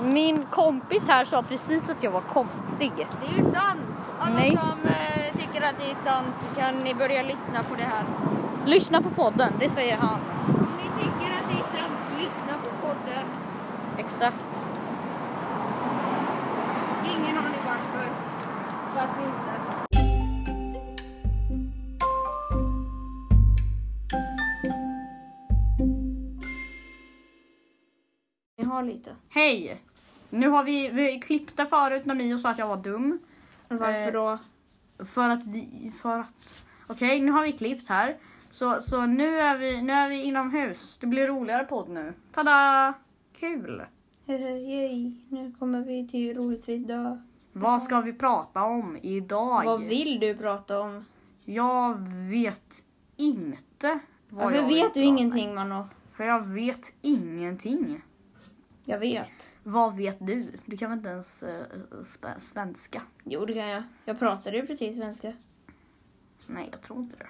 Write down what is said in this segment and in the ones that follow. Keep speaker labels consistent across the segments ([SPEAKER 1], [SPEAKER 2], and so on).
[SPEAKER 1] Min kompis här sa precis att jag var konstig.
[SPEAKER 2] Det är ju sant! Alla
[SPEAKER 1] Nej.
[SPEAKER 2] som eh, tycker att det är sant kan ni börja lyssna på det här.
[SPEAKER 1] Lyssna på podden, det säger han.
[SPEAKER 2] Om ni tycker att det är sant, lyssna på podden.
[SPEAKER 1] Exakt.
[SPEAKER 2] Ingen aning varför. Varför inte? Ni har lite.
[SPEAKER 1] Hej! Nu har vi, vi klippte förut när Mio sa att jag var dum.
[SPEAKER 2] Varför
[SPEAKER 1] Eh,
[SPEAKER 2] då?
[SPEAKER 1] För att vi, för att... Okej, nu har vi klippt här. Så, så nu, är vi, nu är vi inomhus. Det blir roligare podd nu. Tada! Kul!
[SPEAKER 2] Hej, nu kommer vi till roligtvis dö.
[SPEAKER 1] Vad ska vi prata om idag?
[SPEAKER 2] Vad vill du prata om?
[SPEAKER 1] Jag vet inte. vad
[SPEAKER 2] Varför
[SPEAKER 1] jag vill
[SPEAKER 2] vet du
[SPEAKER 1] prata om.
[SPEAKER 2] ingenting Mano?
[SPEAKER 1] För jag vet ingenting.
[SPEAKER 2] Jag vet.
[SPEAKER 1] Vad vet du? Du kan väl inte ens eh, sp- svenska?
[SPEAKER 2] Jo det kan jag. Jag pratade ju precis svenska.
[SPEAKER 1] Nej, jag tror inte det.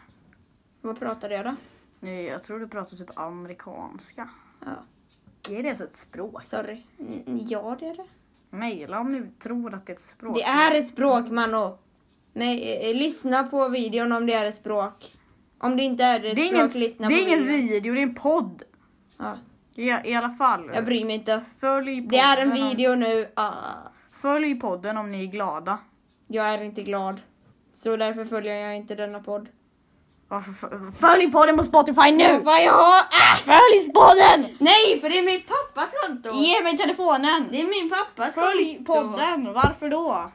[SPEAKER 2] Vad pratade jag då?
[SPEAKER 1] Nej, jag tror du pratar typ amerikanska.
[SPEAKER 2] Ja,
[SPEAKER 1] Är det ens ett språk?
[SPEAKER 2] sorry. Mm, Ja det är det.
[SPEAKER 1] Mejla om ni tror att det är ett språk.
[SPEAKER 2] Det är ett språk Mano. Men eh, eh, lyssna på videon om det är ett språk. Om det inte är ett
[SPEAKER 1] Det är
[SPEAKER 2] språk,
[SPEAKER 1] ingen,
[SPEAKER 2] lyssna
[SPEAKER 1] det
[SPEAKER 2] på
[SPEAKER 1] är ingen
[SPEAKER 2] videon.
[SPEAKER 1] video, det är en podd.
[SPEAKER 2] Ja,
[SPEAKER 1] I, i alla fall.
[SPEAKER 2] jag bryr mig inte.
[SPEAKER 1] Följ podden,
[SPEAKER 2] Det är en
[SPEAKER 1] om-
[SPEAKER 2] video nu. Ah,
[SPEAKER 1] Följ podden om ni är glada.
[SPEAKER 2] jag är inte glad. Så därför följer jag inte denna podd.
[SPEAKER 1] Varför fö- Följ podden på Spotify nu!
[SPEAKER 2] Vad jag har... Ah!
[SPEAKER 1] Följ podden!
[SPEAKER 2] Nej, för det är min pappas konto!
[SPEAKER 1] Ge mig telefonen!
[SPEAKER 2] Det är min pappas
[SPEAKER 1] Följ
[SPEAKER 2] konto!
[SPEAKER 1] podden, varför då?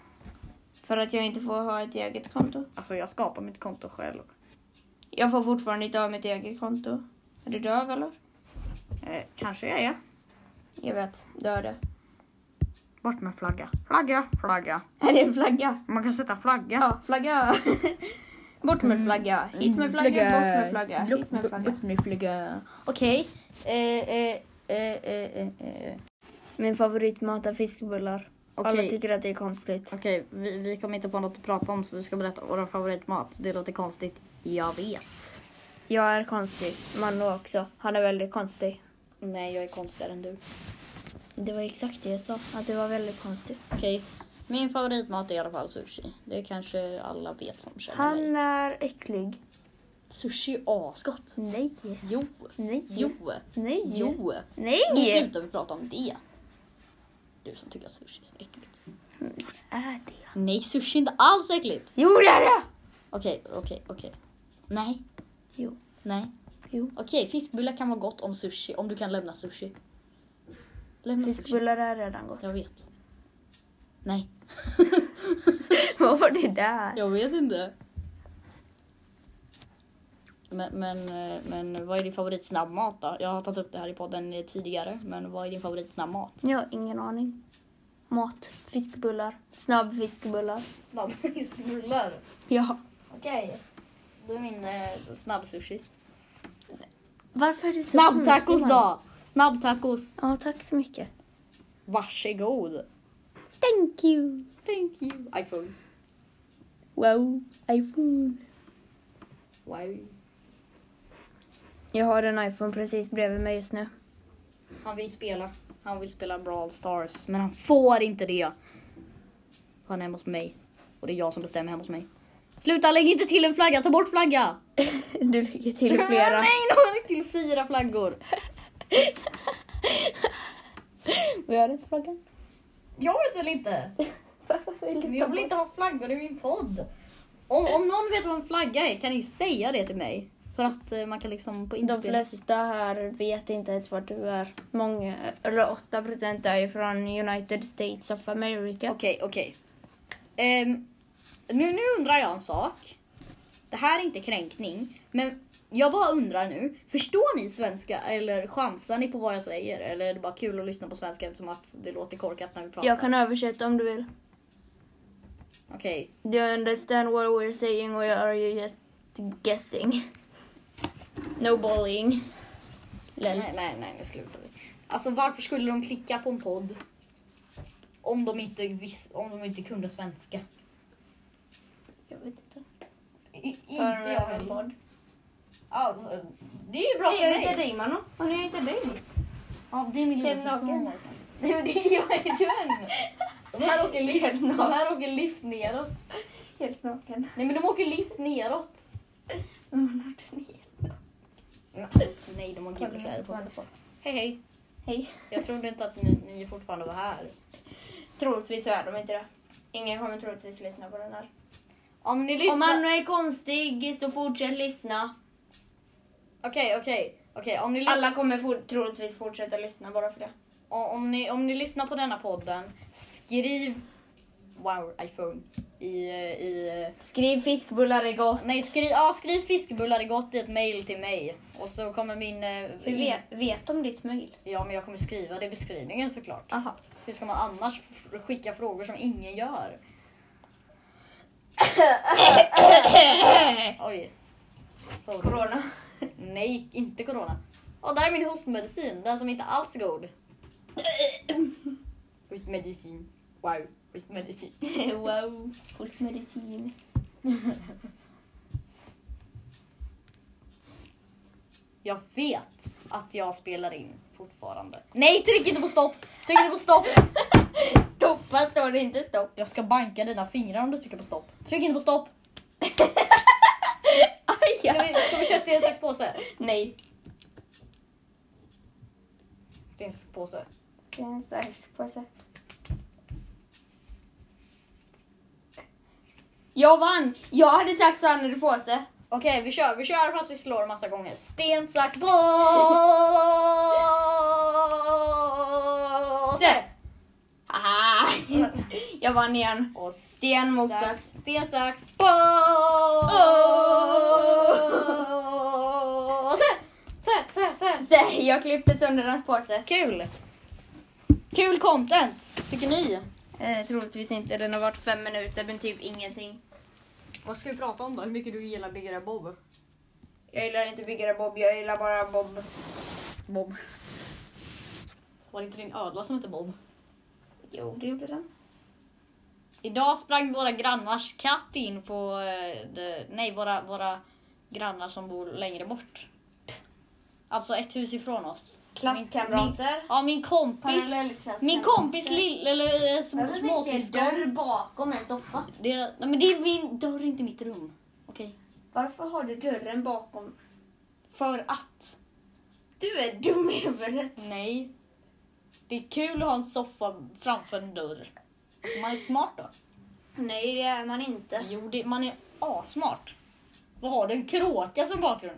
[SPEAKER 2] För att jag inte får ha ett eget konto.
[SPEAKER 1] Alltså jag skapar mitt konto själv.
[SPEAKER 2] Jag får fortfarande inte ha mitt eget konto. Är du döv eller?
[SPEAKER 1] Eh, kanske jag är.
[SPEAKER 2] Jag vet, död är.
[SPEAKER 1] Bort med flagga. Flagga, flagga.
[SPEAKER 2] Är det en flagga?
[SPEAKER 1] Man kan sätta flagga.
[SPEAKER 2] Ja, flagga! bort med flagga, hit med Mm. flagga, bort med flagga, hit med flagga.
[SPEAKER 1] med flagga. Okej. Eh, eh, eh, eh, eh, eh.
[SPEAKER 2] Min favoritmat är fiskbullar.
[SPEAKER 1] Okej.
[SPEAKER 2] att det är konstigt.
[SPEAKER 1] Okej, vi, vi kommer inte på något att prata om så vi ska berätta vår favoritmat. Det låter konstigt. Jag vet.
[SPEAKER 2] Jag är konstig. Manu också. Han är väldigt konstig.
[SPEAKER 1] Nej, jag är konstigare än du.
[SPEAKER 2] Det var exakt det jag sa, att det var väldigt konstigt.
[SPEAKER 1] Okej. Min favoritmat är i alla fall sushi. Det kanske alla vet som känner mig.
[SPEAKER 2] är äcklig.
[SPEAKER 1] Sushi är asgott.
[SPEAKER 2] Nej.
[SPEAKER 1] Jo.
[SPEAKER 2] Nej.
[SPEAKER 1] Jo.
[SPEAKER 2] Nej.
[SPEAKER 1] Jo. Nu
[SPEAKER 2] Nej.
[SPEAKER 1] slutar vi prata om det. Du som tycker att sushi är så äckligt.
[SPEAKER 2] Är det?
[SPEAKER 1] Nej, sushi är inte alls äckligt.
[SPEAKER 2] Jo det är det!
[SPEAKER 1] Okej, okej, okej. Nej.
[SPEAKER 2] Jo.
[SPEAKER 1] Nej.
[SPEAKER 2] Jo.
[SPEAKER 1] Okej, fiskbullar kan vara gott om sushi, om du kan lämna sushi. Lämna sushi.
[SPEAKER 2] är redan gott.
[SPEAKER 1] Jag vet. Nej.
[SPEAKER 2] Vad var det där?
[SPEAKER 1] Jag vet inte. Men, men, eh, men vad är din favoritsnabbmat då? Jag har tagit upp det här i podden eh, tidigare, men vad är din favoritsnabbmat?
[SPEAKER 2] Jag har ingen aning. Mat, fiskbullar, snabb fiskbullar.
[SPEAKER 1] Snabbfiskbullar.
[SPEAKER 2] Ja.
[SPEAKER 1] Okej. Då är min eh, snabbsushi.
[SPEAKER 2] Varför är det så
[SPEAKER 1] Snabbtacos
[SPEAKER 2] konstigt, man?
[SPEAKER 1] då! Snabbtacos.
[SPEAKER 2] Ja, tack så mycket.
[SPEAKER 1] Varsågod.
[SPEAKER 2] Thank you.
[SPEAKER 1] Thank you. iPhone.
[SPEAKER 2] Wow, iPhone.
[SPEAKER 1] Wow.
[SPEAKER 2] Jag har en iPhone precis bredvid mig just nu.
[SPEAKER 1] Han vill spela. Han vill spela Brawl Stars, men han får inte det. Han är hemma hos mig. Och det är jag som bestämmer hemma hos mig. Sluta, lägg inte till en flagga, ta bort flagga!
[SPEAKER 2] Du lägger till flera.
[SPEAKER 1] Nej, nu har lagt till fyra flaggor.
[SPEAKER 2] Vad är det frågan?
[SPEAKER 1] Jag vet väl inte.
[SPEAKER 2] Varför vill
[SPEAKER 1] Jag vill inte ha flaggor i min podd. Om, om någon vet vad en flagga är, kan ni säga det till mig? För att eh, man kan liksom på
[SPEAKER 2] De
[SPEAKER 1] inspelning...
[SPEAKER 2] flesta här vet inte ens var du är. Många, eller 8 procent är ju från United States of America.
[SPEAKER 1] Okej, okej. Ehm, nu, nu undrar jag en sak. Det här är inte kränkning, men jag bara undrar nu. Förstår ni svenska eller chansar ni på vad jag säger? Eller är det bara kul att lyssna på svenska eftersom att det låter korkat när vi pratar?
[SPEAKER 2] Jag kan översätta om du vill.
[SPEAKER 1] Okej,
[SPEAKER 2] Do you understand what we're saying or are you just guessing? No bullying. Lol.
[SPEAKER 1] nej, nej, nej, nu slutar vi. Alltså varför skulle de klicka på en podd? Om de inte, vis- om de inte kunde svenska.
[SPEAKER 2] Jag vet inte.
[SPEAKER 1] I- inte
[SPEAKER 2] Har du
[SPEAKER 1] jag
[SPEAKER 2] en
[SPEAKER 1] heller.
[SPEAKER 2] podd?
[SPEAKER 1] Ja, det är ju bra
[SPEAKER 2] Nej, jag
[SPEAKER 1] för
[SPEAKER 2] heter
[SPEAKER 1] mig.
[SPEAKER 2] dig Mano. Och jag heter dig.
[SPEAKER 1] Ja, det är min
[SPEAKER 2] Helt naken.
[SPEAKER 1] lillasyster. Nej men det gör inte än. De här åker lift, de här åker lift neråt.
[SPEAKER 2] Helt naken.
[SPEAKER 1] Nej men de åker lift neråt.
[SPEAKER 2] Mm, har du en hel-
[SPEAKER 1] Nej de har gula kläder på sig.
[SPEAKER 2] Wonderful.
[SPEAKER 1] Hej hej.
[SPEAKER 2] Hej.
[SPEAKER 1] Jag trodde inte att ni, ni fortfarande var här.
[SPEAKER 2] Troligtvis så är de inte det. Ingen kommer troligtvis lyssna på den här.
[SPEAKER 1] Om ni lyssnar...
[SPEAKER 2] Om man är konstig så fortsätt lyssna.
[SPEAKER 1] Okej okej. Okej om ni lyssnar...
[SPEAKER 2] Alla kommer for- troligtvis fortsätta lyssna bara för det.
[SPEAKER 1] Och om ni, om ni lyssnar på denna podden, skriv... Wow, iPhone. I... eh, i eh,
[SPEAKER 2] Skriv fiskbullar är gott.
[SPEAKER 1] nej, skriv, ja, skriv fiskbullar i gott i ett mail till mig. Och så kommer min... eh,
[SPEAKER 2] Hur vet, vet de ditt mejl?
[SPEAKER 1] Ja, men jag kommer skriva det i beskrivningen såklart.
[SPEAKER 2] Aha.
[SPEAKER 1] Hur ska man annars f- skicka frågor som ingen gör? Oj. Sorry.
[SPEAKER 2] Corona.
[SPEAKER 1] Nej, inte corona. Och där är min hostmedicin, den som inte alls är god. Hostmedicin. Wow, hostmedicin.
[SPEAKER 2] wow. Hostmedicin.
[SPEAKER 1] Jag vet att jag spelar in fortfarande. Nej, tryck inte på stopp! Tryck inte på stopp!
[SPEAKER 2] Stoppa står det inte stopp.
[SPEAKER 1] Jag ska banka dina fingrar om du trycker på stopp. Tryck inte på stopp!
[SPEAKER 2] Aja.
[SPEAKER 1] Ska vi, ska vi köra sten, sax, påse?
[SPEAKER 2] Nej.
[SPEAKER 1] Sten, sax, påse.
[SPEAKER 2] Det är en saxpåse. Jag vann! Jag hade sax och han hade påse.
[SPEAKER 1] Okej, vi kör. Vi kör fast vi slår massa gånger. Sten, sax, påse!
[SPEAKER 2] Se! Haha. Ah. Jag vann igen.
[SPEAKER 1] Och
[SPEAKER 2] Sten mot
[SPEAKER 1] sax,
[SPEAKER 2] sax.
[SPEAKER 1] sten, sax, påse! Så här, så här, så här.
[SPEAKER 2] Se, jag klippte sönder hans påse.
[SPEAKER 1] Kul! Kul content, tycker ni?
[SPEAKER 2] Eh, troligtvis inte. Den har varit fem minuter men typ ingenting.
[SPEAKER 1] Vad ska vi prata om då? Hur mycket du gillar Big Red Bob?
[SPEAKER 2] Jag gillar inte Byggare Bob, jag gillar bara Bob.
[SPEAKER 1] Bob. Var det inte din ödla som hette Bob?
[SPEAKER 2] Jo, det gjorde den.
[SPEAKER 1] Idag sprang våra grannars katt in på... eh, det- nej, våra, våra grannar som bor längre bort. Alltså ett hus ifrån oss. Min, min,
[SPEAKER 2] Klasskamrater.
[SPEAKER 1] ja, min kompis.
[SPEAKER 2] Parallellklasskamrater.
[SPEAKER 1] Min kompis lill, eller eh, små, småsyskon.
[SPEAKER 2] bakom en soffa.
[SPEAKER 1] Det, är- nej, men det är min dörr, inte mitt rum. Okej.
[SPEAKER 2] Varför har du dörren bakom?
[SPEAKER 1] För att...
[SPEAKER 2] Du är dum i huvudet.
[SPEAKER 1] Nej. Det är kul att ha en soffa framför en dörr. Så man är smart då.
[SPEAKER 2] Nej, det är man inte.
[SPEAKER 1] Jo, det, man är asmart. Vad har du? En kråka som bakgrund?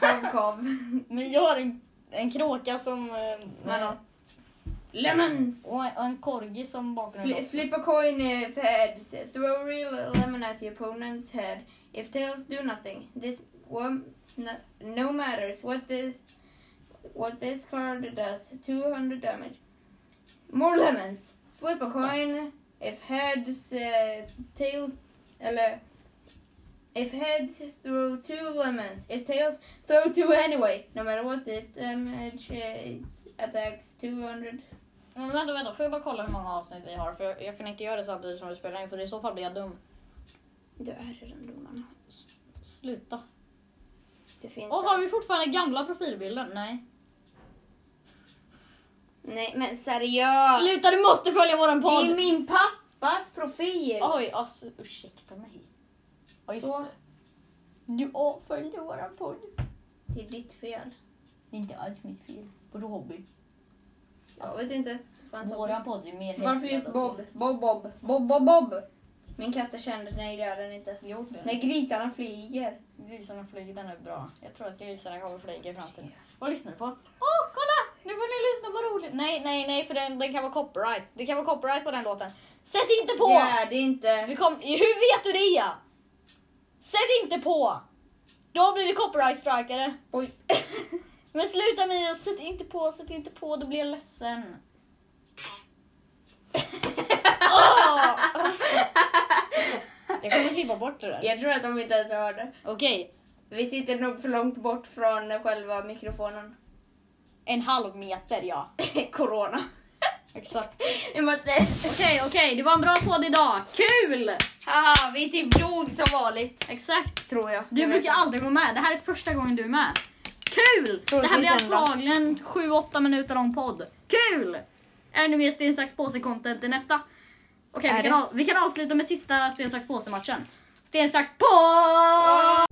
[SPEAKER 2] Kav, kav.
[SPEAKER 1] Men jag har en, en kråka som... eh,
[SPEAKER 2] Vadå? Lemons!
[SPEAKER 1] Och en, och en korgi som bakgrund.
[SPEAKER 2] Fli- Flip a coin if heads. Throw a real lemon at your opponent's head. If tails, do nothing. This one, no, no matters what this what this card does. 200 damage. More lemons. Flip a coin if heads, uh, tails, eller if heads, throw two lemons. If tails, throw two anyway. No matter what this damage uh, attacks 200.
[SPEAKER 1] Men vänta, vänta. Får jag bara kolla hur många avsnitt vi har? För jag, jag kan inte göra det samtidigt som vi spelar in för i så fall blir jag dum.
[SPEAKER 2] Du är redan dum, Anna.
[SPEAKER 1] Sluta.
[SPEAKER 2] Det finns
[SPEAKER 1] Och
[SPEAKER 2] det.
[SPEAKER 1] har vi fortfarande gamla profilbilden? Nej.
[SPEAKER 2] Nej men seriöst.
[SPEAKER 1] Sluta, du måste följa våran
[SPEAKER 2] Det
[SPEAKER 1] podd!
[SPEAKER 2] är min pappas profil.
[SPEAKER 1] Oj, alltså ursäkta mig. Oj,
[SPEAKER 2] Så.
[SPEAKER 1] Du avföljde våran podd.
[SPEAKER 2] Det är ditt fel.
[SPEAKER 1] Det är inte alls mitt fel. Både hobby.
[SPEAKER 2] Jag vet inte. Fan, så-
[SPEAKER 1] Våran podd är mer
[SPEAKER 2] Alltså, Varför
[SPEAKER 1] hästjävla
[SPEAKER 2] just Bob?
[SPEAKER 1] till.
[SPEAKER 2] Bob, Bob, Bob, Bob, Bob. Min katt är känd. Nej det är den inte.
[SPEAKER 1] Jo, det är
[SPEAKER 2] När grisarna flyger.
[SPEAKER 1] Grisarna flyger, den är bra. Jag tror att grisarna kommer flyga i framtiden. Vad lyssnar du på? Åh, oh, kolla! Nu får ni lyssna på roligt. Nej, nej, nej, för den, den kan vara copyright. Det kan vara copyright på den låten. Sätt inte på!
[SPEAKER 2] Det är det inte.
[SPEAKER 1] Vi kom, hur vet du det? Sätt inte på! Då blir vi copyright-strikade.
[SPEAKER 2] Oj.
[SPEAKER 1] Men sluta Mia, sätt inte på, sätt inte på, då blir jag ledsen. Åh! Jag kommer klippa bort det där.
[SPEAKER 2] jag tror att de inte ens hörde.
[SPEAKER 1] Okej,
[SPEAKER 2] Vi sitter nog för långt bort från själva mikrofonen.
[SPEAKER 1] en halv meter ja.
[SPEAKER 2] Corona.
[SPEAKER 1] Exakt.
[SPEAKER 2] Vi måste...
[SPEAKER 1] Okej, okej, det var en bra podd idag. Kul!
[SPEAKER 2] Haha, vi typ dog som vanligt.
[SPEAKER 1] Exakt.
[SPEAKER 2] Tror jag.
[SPEAKER 1] Du
[SPEAKER 2] Jag vet inte.
[SPEAKER 1] brukar aldrig vara med, det här är första gången du är med. Kul! Det här blir
[SPEAKER 2] Troligtvis en
[SPEAKER 1] antagligen en 7-8 minuter lång podd. Kul! Ännu mer sten, sax, påse content i nästa. Okej,
[SPEAKER 2] Är
[SPEAKER 1] vi,
[SPEAKER 2] det?
[SPEAKER 1] kan av- vi kan avsluta med sista sten, sax, påse matchen. Sten, sax, påse!